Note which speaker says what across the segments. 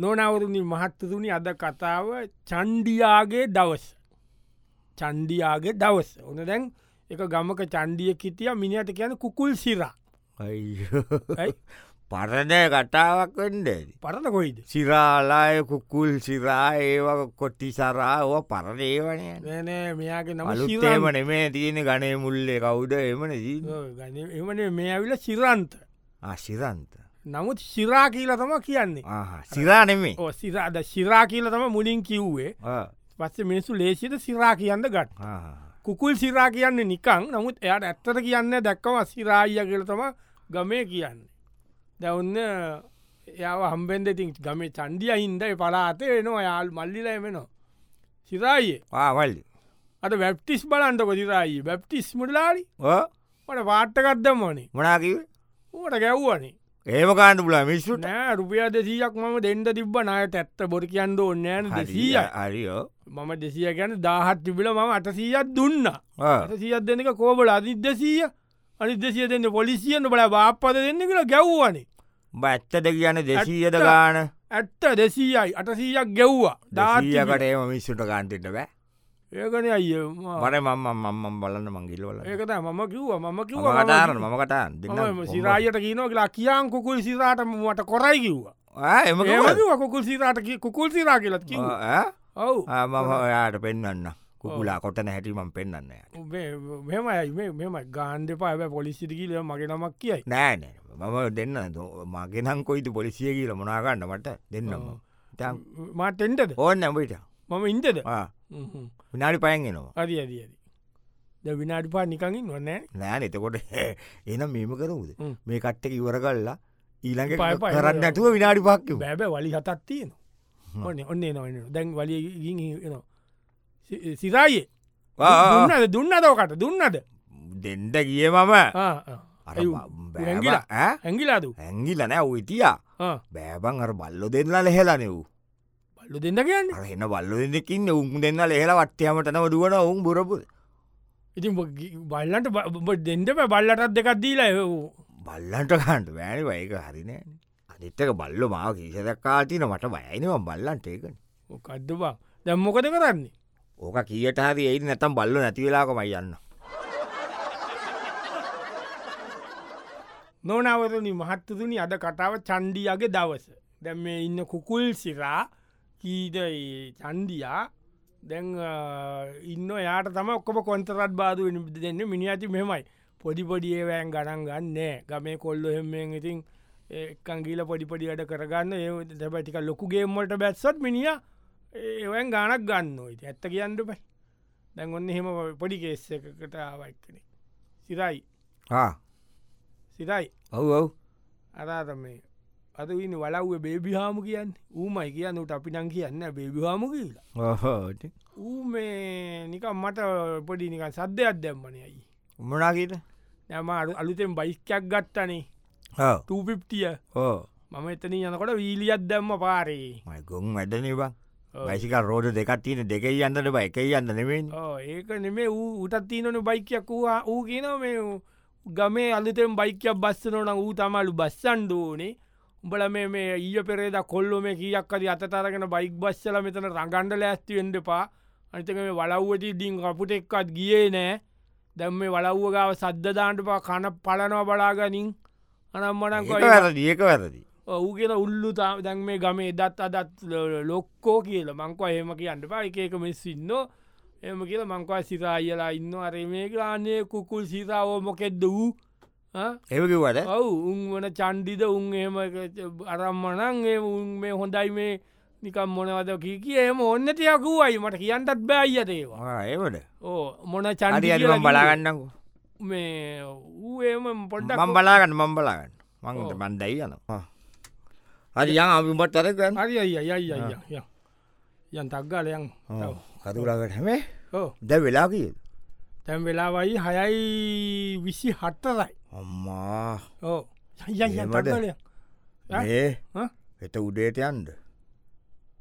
Speaker 1: නොනවරුණි මහත්තතුනි අද කතාව චන්්ඩියයාගේ දවස් චන්්ඩියයාගේ දවස් ඕන දැන් එක ගමක චන්්ඩිය කිටිය මිනිට කියන කුකුල් සිරා ඇයි?
Speaker 2: පරණය කටාවක් වෙන්ඩේද.
Speaker 1: පරණ කොයිද
Speaker 2: සිරාලාය කුකුල් සිරා ඒව කොට්ටි සරාව පරණ ඒවනය
Speaker 1: නෑනෑ මෙයාගේ නම
Speaker 2: අලුත්තේම නෙමේ තියෙන ගනේ මුල්ලේ කවුඩ එමන
Speaker 1: එමන මේ ඇවිල සිරන්ත
Speaker 2: සිරන්ත
Speaker 1: නමුත් සිරා කියල තම කියන්නේ
Speaker 2: සිරා නෙමේ
Speaker 1: ඕ සිරාද සිරා කියල තම මුලින් කිව්වේ පස්සේ මිනිසු ලේසිද සිරා කියන්න ගට කුකුල් සිරා කියන්නේ නිකං නමුත් එයට ඇත්තට කියන්න දැක්කම සිරායිය කියල තම ගමේ කියන්නේ. දැවන්න එයාව හම්බෙන්දෙතින් ගමේ චන්දිය හින්ද ඒ පලාතේ වෙනවා යාල් මල්ලිලය වෙනවා. සිරායේ
Speaker 2: පාවල්
Speaker 1: අද වැප්ටිස් බලන්ටක සිරායි වැප්ටිස් මුඩලාරි මට පාට්ටකත්දම් ඕනේ
Speaker 2: මනාකිව
Speaker 1: ඌට ගැව්වනේ
Speaker 2: ඒම කාන්න පුලා මිස්සුට
Speaker 1: නෑ රුපියා දෙසීයක් මම දෙන්ඩ තිබ නයට ඇත්ත බොරි කියන්න ඕන්න ෑන දෙසීය
Speaker 2: අරියෝ
Speaker 1: මම දෙසිය ගැන දාහත් තිබිල මම අටසීයක් දුන්න සියත් දෙනක කෝබල අධිත් දෙසීය අනි දෙසිය දෙන්න පොලිසියන්න බල බාප්පද දෙන්න කියලා ගැව්වනේ
Speaker 2: බැත්තට කියන දෙසීයද
Speaker 1: ඇත්ත.
Speaker 2: ගාන
Speaker 1: ඇත්ත දෙසීයයි අටසීයක් ගැව්වා
Speaker 2: දාතියකට ඒම මිස්සුට ගාන්තෙට බෑ
Speaker 1: ඒකන අය
Speaker 2: මට මම මම්මම් බලන්න මංගිල්වල
Speaker 1: ඒකත මම කිව්ව මම
Speaker 2: කතාරන
Speaker 1: කිව්ව
Speaker 2: මම කතා දෙන්න
Speaker 1: සිරායට කියනෝ කියලා කියාන් කුකුල් සිරාට මට කොරයි කිව්වා
Speaker 2: එම
Speaker 1: ඒමකිව කුකුල් සිරාට කි- කුකුල් සිරා කියලත් කිව් ඔවු
Speaker 2: මම ඔයාට පෙන්න්න කුකුලා කොටන හැටිමම් පෙන්න්න
Speaker 1: මෙමයි මේ- මෙම ගාන්ඩ පාව පොලිසිටිකිල මගේ නමක් කියයි
Speaker 2: නෑන මම දෙන්න මගෙනම් කොයිතු පොලිසිය කියල මොනාගන්න මට දෙන්නම
Speaker 1: ඔව්.
Speaker 2: ඉතින්
Speaker 1: මාට එන්ටද
Speaker 2: ඕන්න ඇබට
Speaker 1: මම ඉන්ටද
Speaker 2: විනාඩි පයන්ගෙනවා
Speaker 1: අරි අරි අරි ද විනාඩි පා නිකඟින් වනෑ
Speaker 2: නෑන එතකොට එනම් මේම කරුද
Speaker 1: හ්ම්.
Speaker 2: මේ කට්ට ඉවර කල්ලා ඊළඟ
Speaker 1: පය පය
Speaker 2: කරන්න ඇතුව විනාඩි පක්ක
Speaker 1: බෑබෑ වලි හතත් තියෙන ඔන්න ඔන්න නොන දැන් වලියනවා eh, සිරායේ
Speaker 2: Ah,
Speaker 1: දුන්නද දුන්න දෝකට දුන්නද
Speaker 2: දෙන්ඩ ගිය මම
Speaker 1: Ah,
Speaker 2: අර
Speaker 1: ඇයි
Speaker 2: බ- බෑ
Speaker 1: ඇංගිලා?
Speaker 2: බා- ඈ?
Speaker 1: ඇගිලාදු
Speaker 2: ඇංගිල නෑ උයිතියා බෑබන් අර බල්ලො දෙන්නලා ලෙහෙලනෙව්
Speaker 1: බල්ලු දෙන්න කියන්න
Speaker 2: අර එන්න බල්ලො දෙන්නකින්න උන් දෙන්න ලෙහෙලා වට්්‍යයමටනව දුවන උන් බොරපු
Speaker 1: ඉතින් ඔබ ගි- බල්ලන්ට දෙන්නම බල්ලටත් දෙකක් දීලා එ
Speaker 2: බල්ලන්ට කන්ට වැෑන වයක හරිනෑ අනිත්තක බල්ල මාව කිසදක්කාතින මට බයයිනවා බල්ලන්ට ඒකන
Speaker 1: කද්දවා දැම්මොකද කරන්නේ
Speaker 2: ඕක කියට හරි එයි නැතම් බල්ල නැතිවෙලාක මයියන්න
Speaker 1: නොනවරනි මහත්තතුනි අද කටාව චන්ඩියගේ දවස දැම් මේ ඉන්න කුකුල් සිරා කීද ඒ චන්ඩියා දැන් අ, ඉන්න යාට තම ඔක්කම කොන්තරත් බාද වෙන දෙන්න මිනිියති මෙමයි පොඩිපොඩියවෑන් ගණන් ගන්න ගමේ කොල්ල එහෙමෙන් ඉතින් එකංගීල පොඩිපොඩියට කරගන්න ඒ දැබැටික ලොකුගේමට බැත්සත් මිනිිය ඒවැන් ගානක් ගන්න යිති ඇත්ත කියන්නට පැ දැන් ඔන්න එහෙම පොඩි කේස්ස එකකට ආවයික්කනේ සිරයි සිරයි
Speaker 2: ඔව ඔව්
Speaker 1: අරාතම අද වන්න වලව්ව බේබිහාම කියන්න ඌමයි කියන්න උට අපි නං කියන්න බේබිහාම කියලා ඌ මේ නිකම් මට පොඩි නික සද්ධයක් දැම්මනයයි
Speaker 2: උමනාකිට
Speaker 1: නෑම අලුතෙන් බයිස්කයක් ගත්තනේ තූපිප්තිය
Speaker 2: ඕ
Speaker 1: මම එතන යනකොට වීලියත් දැම්ම පාරේ
Speaker 2: මයිගොන් වැඩනවා
Speaker 1: ඔව්.
Speaker 2: වැසික රෝඩ දෙකත්තින දෙකයි අන්නට බයි එකයි අන්න නෙමෙන්
Speaker 1: ඕ ඒක නෙමේ ඌ උටත් තිීනන බයිකයක් වූවා ඌ කියන මේ ඌ ගමේ අලුතෙන් බයිකයක් බස්සනෝන ඌ තමලු බස්සන්ඩ ඕනේ උඹල මේ මේ ඊය පෙරේද කොල්ලොම කියක්කද අතතරගෙන බයික් බස්සල මෙතන රඟණ්ඩ ලෑස්තිවෙන්ඩ පා අනිතක මේ වලව්වති ඩිං කපුට එක්කත් ගියේ නෑ දැම් මේ වලව්වගාව සද්ධදාන්ට පා කන පලනවා බලාගනින් අනම්මනක්
Speaker 2: වැරදි ඒක වැරදි
Speaker 1: ඔහු කියෙන උල්ලු තා දැන් මේ ගම එදත් අදත් ල- ලොක්කෝ කියල මංකව හෙම කියන්න පා එකක මෙස් ඉන්න එම කියල මංකව සිරායලා ඉන්න අර මේ ග්‍රානය කුකුල් සිතාවෝ මොකෙද්ද වූ
Speaker 2: ඒකිවට
Speaker 1: ඔවු උන් වන චන්්ඩිද උන් එම අරම්මනන් ඒ උන් මේ හොඳයි මේ නිකම් මොනවද කි කියම ඔන්න තියකුවයි මට කියන්නත් බෑයියතේවා
Speaker 2: ඒවට
Speaker 1: ඕ මොන
Speaker 2: අරි
Speaker 1: චන්ඩි
Speaker 2: අරිම බලාගන්නකු
Speaker 1: මේ ඌ එම
Speaker 2: මම්
Speaker 1: පොඩ්ඩක්
Speaker 2: බලාගන්න මම් බලාගන්න මංට
Speaker 1: ඕ.
Speaker 2: මන්දයි යනවා හරි යන් අිමට අරකන්න
Speaker 1: හරි අයි අයි අයි අයි යන් තක්ගලයන් ඔව්.
Speaker 2: කතුරකට හැමේ
Speaker 1: ඕ
Speaker 2: ද වෙලා කියද
Speaker 1: තැම් වෙලාවයි හයයි විසි හටතරයි
Speaker 2: අම්මා
Speaker 1: ඕ
Speaker 2: එහෙමද?
Speaker 1: ඈ?
Speaker 2: ඒ
Speaker 1: ඈ?
Speaker 2: එත උඩේට යන්ද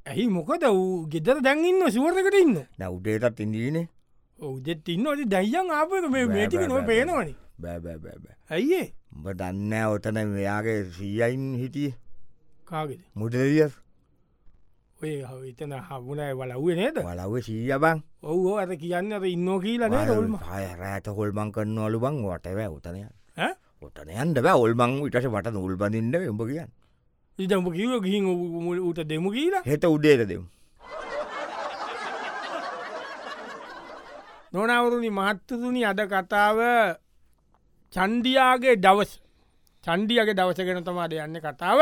Speaker 1: ඇහි මොකද වූ ගෙදර දැන්ඉන්න සිුවර්කට ඉන්න
Speaker 2: නැ උඩේටත් ඉඳීනේ
Speaker 1: ඔවදෙත් ඉන්න ඇති දැයියන් ආපක මේ
Speaker 2: බෑ,
Speaker 1: මේටික
Speaker 2: බෑ,
Speaker 1: නො
Speaker 2: බෑ,
Speaker 1: පේනවනි
Speaker 2: බැබැබැබ
Speaker 1: ඇයිඒ
Speaker 2: උඹ දන්න ඔතන මෙයාගේ සීයයින් හිටිය
Speaker 1: කාගෙද
Speaker 2: මුදරිය
Speaker 1: ඔය හ- එතන හබුණයි වලව්ුව නේද
Speaker 2: වලව සීය බං
Speaker 1: ඔහුෝ ඇත කියන්න අර ඉන්න කියලන ඔල්ම
Speaker 2: හය රෑත හොල්මං කරන්න අලු බං වටව උතනය ඔටනයන්ට බෑ ඔල්මං විටස වට උල්බඳන්න උඹ කියන්න
Speaker 1: ඉතම කිව ගිහින් ඔහු මුල උට දෙමු කියලා
Speaker 2: හෙත උඩේට දෙම්
Speaker 1: නොනවරුණි මහත්තතුනි අද කතාව චන්ඩියයාගේ දවස් චන්ඩියගේ දවසගෙන තමාට යන්න කතාව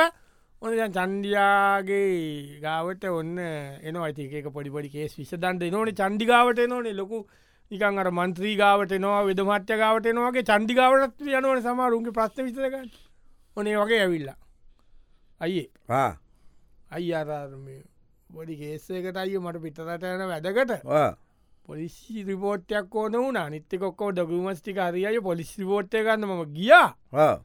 Speaker 1: ඕන දැන් චන්ඩියයාගේ ගාවට ඔන්න එන අතික පොඩිපොඩි කේස් විසදන්ට නොන චන්ඩිගාවට නොනේ ලොකු නිකන් අර මන්ත්‍රී ගාවට නවා වෙද මට්‍ය ගාවට නවාගේ චන්ඩිගාවට යනවන සමාරුන්ගේ ප්‍රශ්න විසරක ඕනේ වගේ ඇවිල්ලා අයියේ අයි අරර්ම බොඩි ගේස්සකට අය මට පිටරට යන වැදකට පොලිසි රිපෝට්යක් ඕන වුණ නිත්‍යකොක්කෝ ඩගුමස්ටික අරිය පොලිස් රිපෝට්ය ගන්න ම ගියා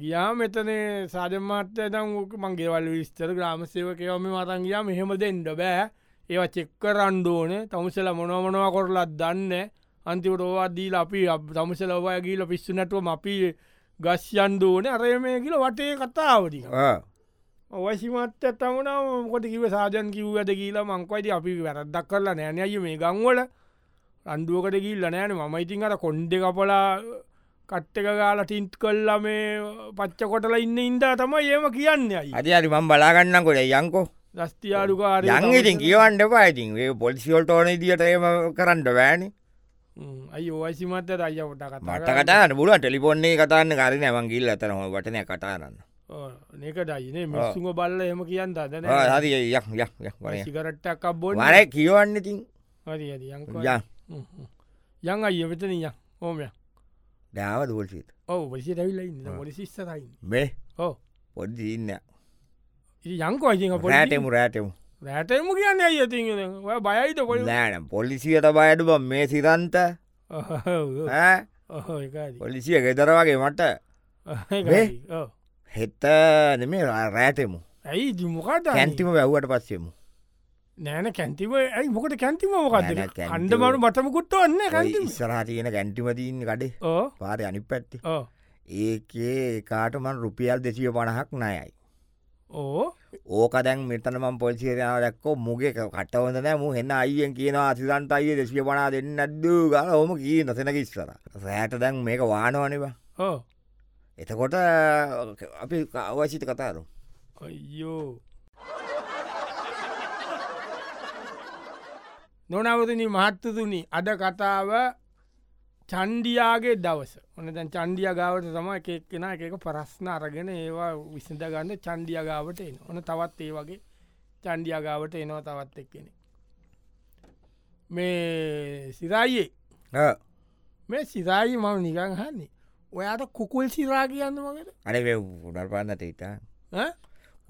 Speaker 1: ගියා මෙතන සාධමාත්‍ය තම් මංගේවල් විස්තර ග්‍රාමසේවකයවම මතන් ගියා මෙහෙම දෙන්න බෑ ඒව චෙක්ක රන්්ඩෝන තමුසල මොනොමනවා කොරලත් දන්න අන්තිවට ඕවාදී අපි තමුසලවය ගීල පිස්සු නැටුව අපි ගස්යන් දෝන අරය මේ කියල වටේ කතාවටික ඔවසිමත්ත තමුණ කොට කිව සාජන් කිව්වද කියලා මංකවයිති අපි වැරද්දක් කරලා නෑන අය මේ ගංවල රන්ඩුවකට කිල්ල නෑන මම ඉතින් අර කොන්්ඩ කපලා කට්ටක ගාල ටින්ට් කල්ලා මේ පච්ච කොටලා ඉන්න ඉන්දා තමයි ඒම කියන්න අයි
Speaker 2: අද අරි මං බලාගන්න කොට යංකෝ
Speaker 1: දස්තියාඩුකාර
Speaker 2: යංගඉතින් කියවන්ඩ පායිතින් පොලිසිවල්ට ඕන දිට ඒම කරන්නට වෑන
Speaker 1: අයි ඔවසිමත්ත රයිකොට
Speaker 2: මට කටාන්න පුල ටෙලිපොන්නේ කතාන්න කරන ඇමන් ගිල්ල අතරම වටනය කටාරන්න
Speaker 1: නකට අයින මිස්සුම බල්ල එම කියන්න දන
Speaker 2: හරි යක් යක්
Speaker 1: සිකරට්ටක් බො
Speaker 2: වර කියවන්න ඉතින් ය
Speaker 1: යන් අය වෙතනය ඕමය
Speaker 2: ඩාව දෝල්සිීත
Speaker 1: ඔව වසි රැවිල්ල ඉන්න පොලිසිස්සරයින්න
Speaker 2: මේ
Speaker 1: ඕ
Speaker 2: පොඩ්දි ඉන්න
Speaker 1: යංක වසිහ පොට
Speaker 2: රෑටෙම රෑටෙම
Speaker 1: රෑටම කියන්න ඇයි ඇති ඔය බයයිත පොල
Speaker 2: නෑන පොලිසියට බයට බ මේ සිරන්ත ඈ? පොලිසිය ගෙදර වගේ මට වේ? හෙත්ත නෙම රෑටෙමු
Speaker 1: ඇයි ජිමොකට
Speaker 2: කැන්තිම වැැව්වට පස්සෙමු
Speaker 1: නෑන කැන්තිව ඇයි මොකට කැන්තිම මොකක්ද
Speaker 2: නෑ, කැන්තිම.
Speaker 1: අන්ඩමරු මටමකුත්ත වන්න කැන්තිම
Speaker 2: ඉස්සරහටයන කැන්ටිමතිීන් කඩේ
Speaker 1: ඕ
Speaker 2: පාර අනි පැත්ති
Speaker 1: ඕ
Speaker 2: ඒකේ කාටමන් රුපියල් දෙසිය පණහක් නයයි
Speaker 1: ඕ
Speaker 2: ඕක දැන් මෙතනම පොල්සිේරාව දැක්කෝ මුගේ කටවද නෑ මු හෙන්න අයියෙන් කියනවා සිදන්ට අයිය දෙසිය පනා දෙන්න ඇද්දූ ගල හොම කී නසෙනක ඉස්සර රෑට දැන් මේක වානවනවා
Speaker 1: ඕ
Speaker 2: එතකොට අපි අවශ්‍යත කතාරු
Speaker 1: අයියෝ නොනවතන මහත්තතුනි අද කතාව චන්ඩියයාගේ දවස ඔන්න දැන් චන්ඩිය ගාවට තම එකක් කෙන එකක පරස්්න අරගෙන ඒවා විසඳගන්න චන්ඩිය ගාවට එන ඕන තවත් ඒ වගේ චන්ඩිය ගාවට එනවා තවත් එක්කෙනෙ මේ සිරයියේ මේ සිරායි මම නිකං හන්නේ ඔයාට කුකුල් සිරා කියන්න මකට
Speaker 2: අනේ උඩල් පන්නට ඉතා
Speaker 1: ඈ?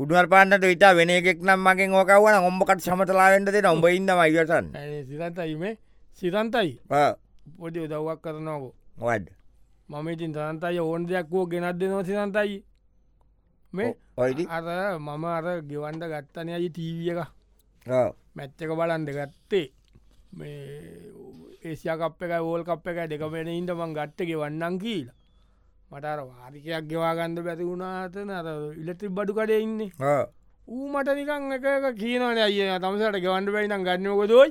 Speaker 2: උඩුවල් පන්නට ඉතා වෙන එකෙක් නම් මගෙන් ඕකවන ඔොම්ඹකට සමතලාවෙන්ට දෙෙන ඔඹ ඉන්නම ඉගටන්න
Speaker 1: ඇයි සිරන්තයි මේ සිරන්තයි පොඩි උදව්වක් කරනවකෝ
Speaker 2: වඩ
Speaker 1: මම ඉතින් තරන්තයි ඕන් දෙයක් වෝ ගෙනත් දෙනවා සිරන්තයි මේ
Speaker 2: ඔයිඩි
Speaker 1: අර මම අර ගෙවන්ඩ ගත්තනය අයි ටීවිය එක මැච්චක බලන්ඩ ගත්තේ මේ ඒසිය කප් එක ඕල් කප් එක දෙකමෙන ඉට මං ගත්ත ගෙවන්නන් කියීලා මට අර වාරිකයක් ගෙවාගන්ඩ බැති වුණාතන අර ඉලෙට්‍රි බඩු කඩේ ඉන්නේ ඌ මට නිකං එක එක කියීනවන අය තමසට ගෙවන්ඩ බැයිනම් ගන්නකොදයි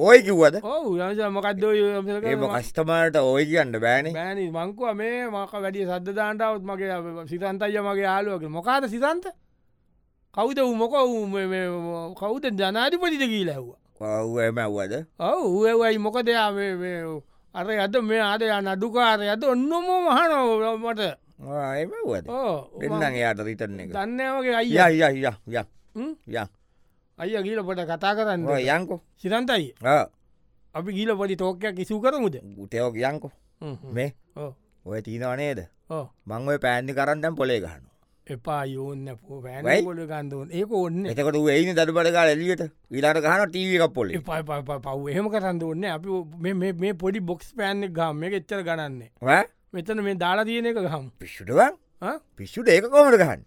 Speaker 2: ඔය කිව්වද
Speaker 1: ඔවු යමස මොකක්ද ඔය යමසල
Speaker 2: ඒම
Speaker 1: කරනවා?
Speaker 2: කස්ටමට ඔය කියන්න බෑන
Speaker 1: බෑනි මංකුව මේ මක වැඩිය සද්ධ දාන්ටවත් මගේ අප- සිතන්තය මගේ යාලුවක මොකාද සිතන්ත කෞද උමොක කෞද ජනාධිපතිද කී ලැහ්වා
Speaker 2: ඔවමැව්වද
Speaker 1: ඔව ඒවයි මොක දෙයා අර ඇද මේ අද යන අඩුකාරය ඇත ඔන්නොම මහනවට
Speaker 2: එමවද
Speaker 1: ඕ
Speaker 2: එන්න එයාට රිටන්න එක
Speaker 1: දන්න වගේ අයිය
Speaker 2: ය ය ය ය
Speaker 1: හ්ම්?
Speaker 2: ය
Speaker 1: අයිය ගීල පොට කතා කරන්න
Speaker 2: ඔය යංකෝ
Speaker 1: සිතන්තයි අපි ගීල පොඩි තෝකයක් කිසු කරමුද
Speaker 2: ගුටයෝ කියංකෝ මේ
Speaker 1: ඕ
Speaker 2: ඔය තිීනව නේද
Speaker 1: ඕ
Speaker 2: මං ඔය පෑන්දි කරන්නම් පොලේ ගහන
Speaker 1: එපා යෝන්න පෝ
Speaker 2: වෙයි.
Speaker 1: පෑන ගොඩ ගන්දුවන් ඒක ඔන්න
Speaker 2: එතකට ඒයින දඩබඩකා එලියට විලාට ගහන ටීවි එකක් පොලේ
Speaker 1: ප පව් එහෙම කරන්න ඕන්න අපි මේ- මේ- මේ පොඩි බොක්ස් පෑන්න ගම්ම එක එච්චර ගණන්න මෙතන මේ දාලා තියෙන එක ගහම්
Speaker 2: පිස්සුටවන්
Speaker 1: ආ?
Speaker 2: පිස්සුට ඒක කොමට ගහන්න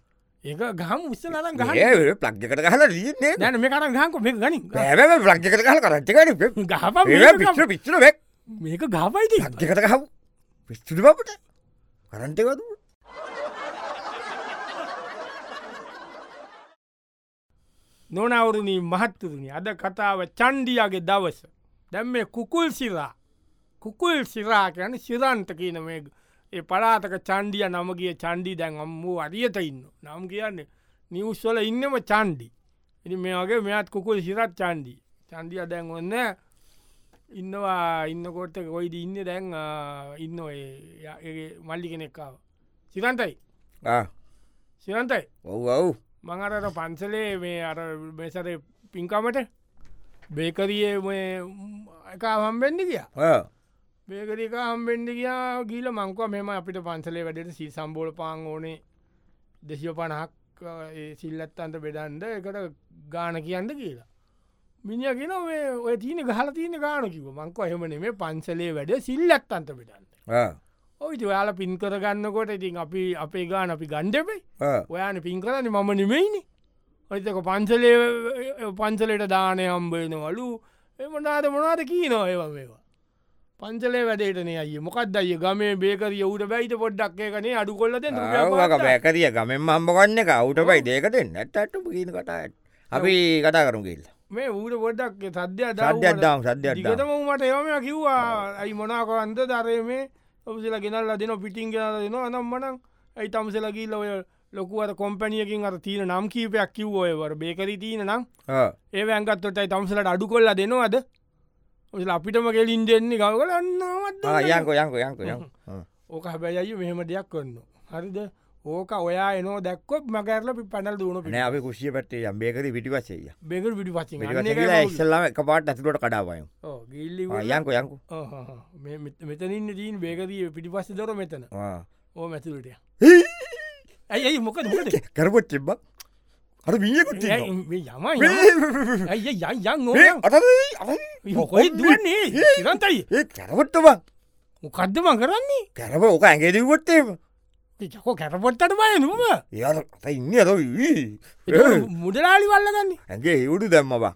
Speaker 1: ඒක ගහම් විස්සල නම් ගහන්න
Speaker 2: ගහ ප්ලක්්කට ගහල ලියන්නේ
Speaker 1: දැන මේ කරන්න ගහංකො මේ ගනි
Speaker 2: පැෑ ප්ලක්්කට ගහල කරට්ටකට
Speaker 1: ගහප
Speaker 2: පිස්ස පිස්සුවෙක්
Speaker 1: මේක ගහපයිති
Speaker 2: ලක්්කට ගහ පිස්සුට බපට කරන්ටවද
Speaker 1: නොනවරුණී මහත්තතුනි අද කතාව චන්ඩියගේ දවස. දැම් මේ කුකුල් සිරා කුකුල් සිරා කියන සිරන්ත කියන මේ ඒ පලාතක චන්ඩිය නමගේ චන්ඩි දැන් අම්මූ අරියට ඉන්න. නම් කියන්නේ නිවස්වල ඉන්නම චන්ඩි. ඉනි මේ වගේ මෙත් කුකුල් සිරත් චන්ඩි චන්ඩිය දැන් ඔන්න ඉන්නවා ඉන්නකොට කොයිද ඉන්න දැන් ආ, ඉන්න ඒ- ඒ මල්ලි කෙනෙක්කාව. සිරන්තයි සිරන්තයි
Speaker 2: ඔව් ඔව්
Speaker 1: මංහරට පන්සලේ මේ අර මෙසර පින්කමට බේකරිය එක හම්බෙන්ඩ කිය
Speaker 2: ඔව්.
Speaker 1: බේකරික හම්බෙන්ඩ කියා ගීල මංකව මෙම අපිට පන්සලේ වැඩට සිල් සම්බෝල පාන් ඕනේ දෙසිය පණහක් සිල්ලත්තන්ට බෙඩන්ඩ එකට ගාන කියන්න කියලා මිනිිය කියෙන මේ ඔය තියන ගහල තියන ගාන කිව මංකව එහෙමන මේ පන්සලේ වැඩ සිල්ලත්තන්ට බෙඩන්න
Speaker 2: ඔව්.
Speaker 1: ඔයිති ඔයාල පින්කර ගන්නකොට ඉතින් අපි අපේ ගාන අපි ගණ්ඩපයි
Speaker 2: ඔව්.
Speaker 1: ඔයාන පින්කරන්න මම නිමයිනි ඔයිතක පන්සලේ පන්සලට දානය අම්බේනවලු එමනාද මොනාද කී නො ඒවා මේවා පන්සලේ වැඩේටන අය මොකක්ද අය ගමේ බේකරිය ඌට බැයිත පොඩ්ඩක් ඒකනේ අඩු කොල්ල දෙන්න
Speaker 2: ආවක බැකරිය ගමෙන් අම්බගන්න එක අවුටපයි දේකට නැට අට ගීන කටා අපි කතා කරුගේල්
Speaker 1: මේ ඌට පොඩ්ඩක් සද්‍ය
Speaker 2: සද්‍යත්දාම් සද්‍යත්දා
Speaker 1: දිගතම උමට ඒවම කිව්වා ඇයි මොනාකවන්ද දරයමේ ඔබසිල ගෙනල්ල දෙන පිටිං ගෙනල දෙන අනම් මනං ඇයි තමසලගී ලොය ලොකුවට කොම්පැනියකින් අර තියෙන නම් කීපයක් කිව්ෝයවර බේකරි තියෙන නම් ඒ ඇන්ගත්තොටයි තමසලට අඩු කොල්ල දෙනවද ඔසල අපිටම කෙලින් දෙන්නේ ගව කලන්නවත්
Speaker 2: යංක යංක යංක යං
Speaker 1: ඕක හැබැයි මෙහෙම දෙයක් කන්න හරිද ඕක ඔයා එනෝ දැක්කොත් මකඇරල පි පැනල් දුණු පි
Speaker 2: නෑ අපි කුෂිය පැත්තේ යම්බේකරි පිටිවසේය
Speaker 1: බෙකර පිටි පචි
Speaker 2: ඉස්සල්ලම එක පාට ඇතුලට කඩාවයම්
Speaker 1: ගිල්ලි
Speaker 2: යංක යංකු
Speaker 1: මෙතනින්න දීන් බේකරී පිටිපස්ස දොර මෙතන ඕ මැතුලට ඇයි ඇයි මොකද මොකද
Speaker 2: කරපොත් චෙබ්බ හර විියකුත්
Speaker 1: ඇයි මේ යමයි ඇයි යන් යන්
Speaker 2: අත
Speaker 1: හොකොයි දුවන්නේ ඉරන්තයි
Speaker 2: ඒ කැරවොට්ට බං
Speaker 1: මොකක්දම කරන්නේ
Speaker 2: කැරව ඕක ඇගේදවොත්තේම
Speaker 1: ජකෝ කැරපොට්ටට බය නොම
Speaker 2: ඒ අත ඉන්න අත
Speaker 1: මුදලාලි වල්ලගන්නේ
Speaker 2: ඇගේ ඒවුඩු දැම්ම බා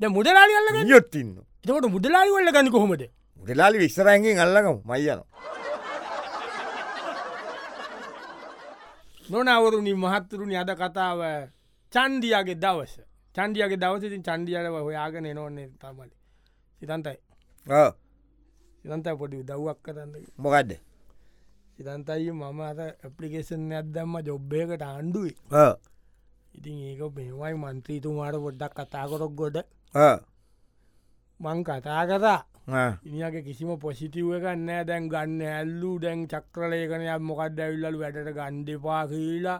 Speaker 1: ද මුදලාලි වල්ලගන්න
Speaker 2: ගියොත්තින්න
Speaker 1: එතකොට මුදලාලි වල්ලගන්න කොහොමද
Speaker 2: මුදලාලි විස්සරඇගෙන් අල්ලකම මයියන
Speaker 1: නොනවරුණින් මහත්තුරුණි අද කතාව චන්දියගේ දවස චන්ඩියගේ දවසතින් චන්ඩියලව හොයාගෙන නොන්නේ තමලි සිතන්තයි සිතන්තයි පොඩි දව්වක් කරන්න
Speaker 2: මොකක්ද
Speaker 1: සිතන්තයි මම අත ඇපලිකේෂන් ඇදම්ම ජොබ්බයකට ආණ්ඩුවේ ඉතින් ඒක මේවයි මන්ත්‍රීතුමාට පොඩ්ඩක් කතාකොරොක් ගොඩ මං කතා කතා ඉනිගේ කිසිම පොසිටිව් එකන්නෑ දැන් ගන්න ඇල්ලු දැන් චක්‍රලයකනය මොකක්ද ඇවිල්ලු වැඩට ගණ්ඩපා කියලා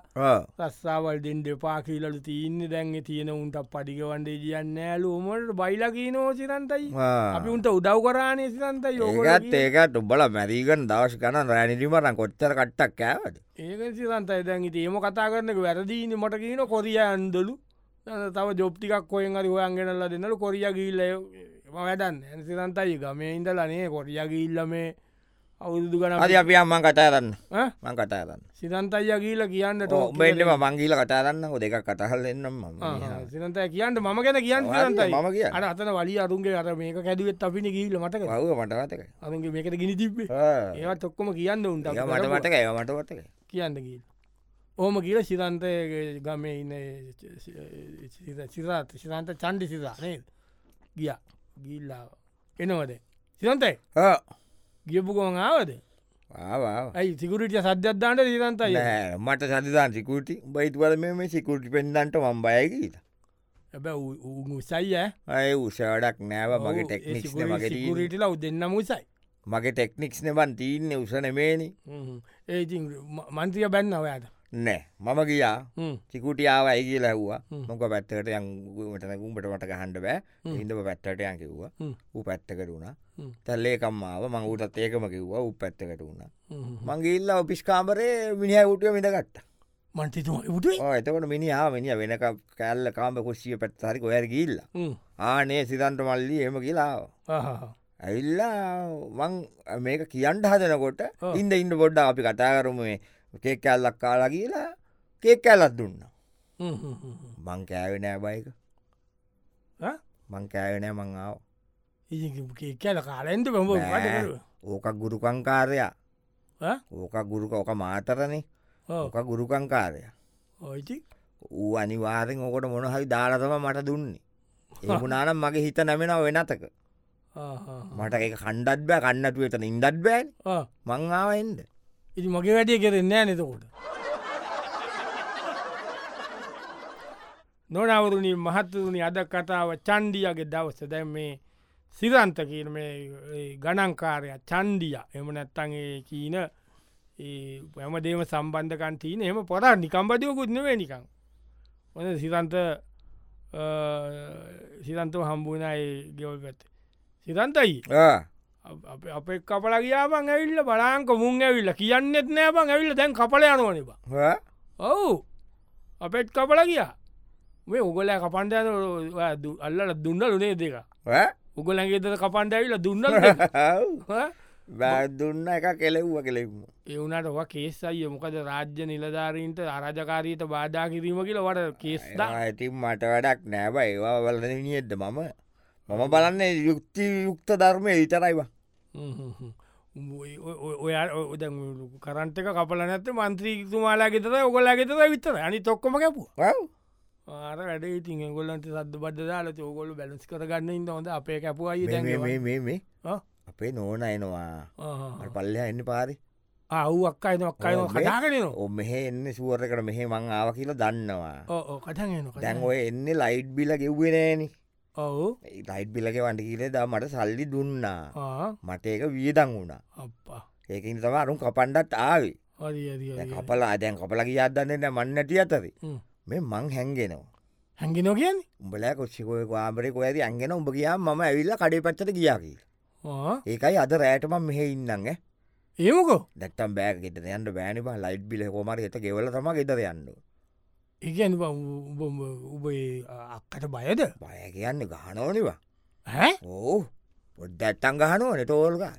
Speaker 1: රස්සාවල් දෙෙන් දෙපා කියලලු තියන්න දැන්ගේ තියෙන උන්ට පඩිගවන්ඩේ කියන්න ඇලු උමට බයිලකී නෝ සිරන්තයි අපි උන්ට උදව් කරානය සිරන්ත
Speaker 2: ඒකත් ඒකත් උබල මැරීගන් දවස් ගන රැනිිමරන් කොච්චර කට්ටක් කෑවට
Speaker 1: ඒක සිරන්තයි දැන් ඉති ඒම කතා කරනක වැරදිීන මට කියන කොරිය ඇන්දලු දැන් තව ජොප්ටිකක් කොයෙන් අරි හොයන්ගෙනල්ල දෙන්නලු කොරිය ගිල්ල වැඩන්න ඇසිරන්තයි ගමේ ඉඳලනේ කොරිය ගිල්ල මේ අවුදු ගන
Speaker 2: අද අපි අම්මන් කටාරන්න මං කටාරන්න
Speaker 1: සිරන්තයි ගීල කියන්න
Speaker 2: ඔබෙන්ටම මංගීල කටාරන්න හො දෙක කටහල් එන්නම් මම
Speaker 1: සිරන්තය කියන්න මම ගැන කියන්න සිරන්තයි
Speaker 2: මම කිය
Speaker 1: අර අතන වලි අරුන්ගේ අර මේක කැදුවත් අපිනි ගීල මටක
Speaker 2: වව මටවතක
Speaker 1: අරුන්ගේ මේකට ගිනි තිබ්බේ ඒවත් ඔක්කොම කියන්න උන්ට අපි කරපුවා.
Speaker 2: මටමටක ඒ මටවතක
Speaker 1: කියන්න ගීල ඕම කියල සිරන්තය ගමේ ඉන්න සිරත් සිරන්ත චන්ඩි සිරානේ ගිය ගිල්ලා එනවද සිරන්තයි ගියපුකොම ආවද
Speaker 2: ආවා
Speaker 1: ඇයි සිකුරටිය සද්‍යත්දාන්ට සිරන්තයි
Speaker 2: නෑ, මට සනිධාන් සිකුටි බයිතුවල මේ සිකුටි පෙන්දන්ට මම් බයගීත
Speaker 1: ඇබ උසයි
Speaker 2: අය උසවඩක් නෑව මගේ ටෙක්නික්ස් මගේ තීරණය.
Speaker 1: සිකුරටිල උ දෙන්න මුසයි
Speaker 2: මගේ ටෙක්නික්ස් නෙබන් තිීන්න උසනමේනි
Speaker 1: ඒති මන්ත්‍රිය බැන්න ඔයාට
Speaker 2: නෑ මම ගියා
Speaker 1: හ්ම්.
Speaker 2: සිකුටි ආව ඇගි ලැහ්වා
Speaker 1: හ්ම්.
Speaker 2: මොක පැත්තකට යංගමටන කුම්ට මට ගහන්ඩ බෑ
Speaker 1: හ්ම්.
Speaker 2: හිඳම පැත්තට යන් කිව්වා
Speaker 1: හ්ම්.
Speaker 2: ඌ පැත්තකට වුණා
Speaker 1: හ්ම්.
Speaker 2: තැල්ලේකම්මාව මං ඌටත් ඒකම කිව්වා උප පැත්තකට වුණා
Speaker 1: හ්ම්.
Speaker 2: මංගේල්ල ඔපිස්කාම්බරේ මිනිහ උටිය මිඳගත්ත
Speaker 1: මන්ත්‍රීතුම උටේ
Speaker 2: එතකට මිනිහා මිනිිය වෙනක කැල්ල කාම කුස්සිය පැත්තහරි කොයර ගිල්ල ආනේ සිතන්ට මල්ලි එම කියලාව ඇවිල්ලා මං මේක කියන්ට හදනකොට
Speaker 1: ඔව්.
Speaker 2: ඉන්ද ඉන්න බොඩ්ඩ අපි කතා කරමේ කේක් කැල්ලක් කාලා කියලා කේක් කැල්ලත් දුන්න මං කෑවෙනෑ බයික
Speaker 1: ඈ?
Speaker 2: මං කෑවෙනෑ මං ආව
Speaker 1: ඒ කියල කාලෙන්ට බොම
Speaker 2: නෑ. ඕක ගුරුකංකාරයා
Speaker 1: ඈ?
Speaker 2: ඕක ගුරුක ඕක මාතරනේ ඕක ගුරුකංකාරය
Speaker 1: ඔයිති
Speaker 2: ඌ අනිවාරෙන් ඕකොට මොනහරි දාලතම මට දුන්නේ. ඒපුනානම් මගේ හිත නැමෙනව වෙනතක මට එක කණ්ඩත් බෑ කන්නතු වෙතන ඉන්ඩත් බෑන් මංආාවෙන්ද
Speaker 1: ඉති මගේ වැඩිය කෙරෙන්නේ නතකොට නොනවරුණි මහත්තුරුණි අද කතාව චන්ඩියගේ දවස්ස දැ මේ සිරන්ත කියන මේ ඒ ගණන්කාරය චන්ඩිය එම නැත්තන්ගේ කියීන පැමදේම සම්බන්ධකන් තියන එම පොරා නිකම්බදයකුත් නවේ නිකං ඔන සිරන්ත සිරන්තව හම්බුණයි ගෙවල් පැත්ත සිරන්තයි අප- අප- අපේ කපල ගියාමන් ඇවිල්ල බලාංක මුන් ඇවිල්ල කියන්නෙත් නෑබන් ඇවිල්ල දැන් කපල යනුවනිබ ඔවු අපෙත් කපල ගියා මේ උගල කපන්ඩ අල්ල දුන්න ලුනේ දෙක උගලගේතද කපන්ඩ ඇවිල්ල දුන්න
Speaker 2: වැදුන්න එක කෙලෙව්ව කෙලෙක්ම
Speaker 1: එවුනට ව කේස් අය මොකද රාජ්‍ය නිලධාරීන්ට අරජකාරීත බාධා කිරීම කියල වට කේස්දා
Speaker 2: ඇති මට වැඩක් නෑබ ඒවා වලන නියෙද්ද මම මම බලන්න යුක්ති යුක්ත ධර්මය විතරයිවා
Speaker 1: ඔයා ඔද කරන්ටක කපල නැත මන්ත්‍රීතුමාලා ගෙතර ඔගොලා ගෙතර විතර අනි තොක්කොම කැපු ආර වැඩ ඉතින් ගොල්ලන්ට සද බද දාලත ඔගොල බැලස් කරගන්න ඉන්න හොඳ අපේ කැපු අය දැන්
Speaker 2: මේ අපේ නෝන එනවා පල්ලෙ එන්න පාරි
Speaker 1: අව් අක්කයි නොක්කයි
Speaker 2: ඔව් මේ-
Speaker 1: කටාගෙනන
Speaker 2: ඔ මෙහෙ එන්න සුවරකට මෙහෙ මං ආව කියලා දන්නවා
Speaker 1: ඕ කටගෙන
Speaker 2: දැන් ඔය එන්න ලයිට් බිල ගෙව්වෙනෑනි
Speaker 1: ඔවු
Speaker 2: ලයිට් බිලක වන්ට කියලේ දා මට සල්ලි දුන්නා මට ඒක වියදං වුණා
Speaker 1: අප්පා
Speaker 2: ඒකින් තම අරුම් කපන්ඩත් ආවේ
Speaker 1: හරි හරි,
Speaker 2: දැන්
Speaker 1: හරි
Speaker 2: කපලා දැන් කපල කියදන්නන්න මන්නටිය අතරි
Speaker 1: හ්ම්.
Speaker 2: මේ මං හැන්ගෙනවා
Speaker 1: හැඟිනෝ කියන්නේ
Speaker 2: උඹලා කොච්චිකෝය වාමරෙක ඇති අන්ගෙන උඹ කියා ම ඇවිල්ල කඩේ පච්චට ගියාකි
Speaker 1: ආ,
Speaker 2: ඒකයි අද රෑටම මෙහෙ ඉන්නන්න
Speaker 1: ඒමකෝ
Speaker 2: දැක්ටම් බෑග ෙට යන්න බෑනිම ලයිට් බිල කොමර එත ගෙවල තම ෙදර යන්න
Speaker 1: ඒගැන උබේ අක්කට බයද
Speaker 2: බය කියන්න ගහනෝනවා
Speaker 1: හැ
Speaker 2: ඕ පොඩ්ඩ ඇත්තන් ගහනුව නටෝල්ගා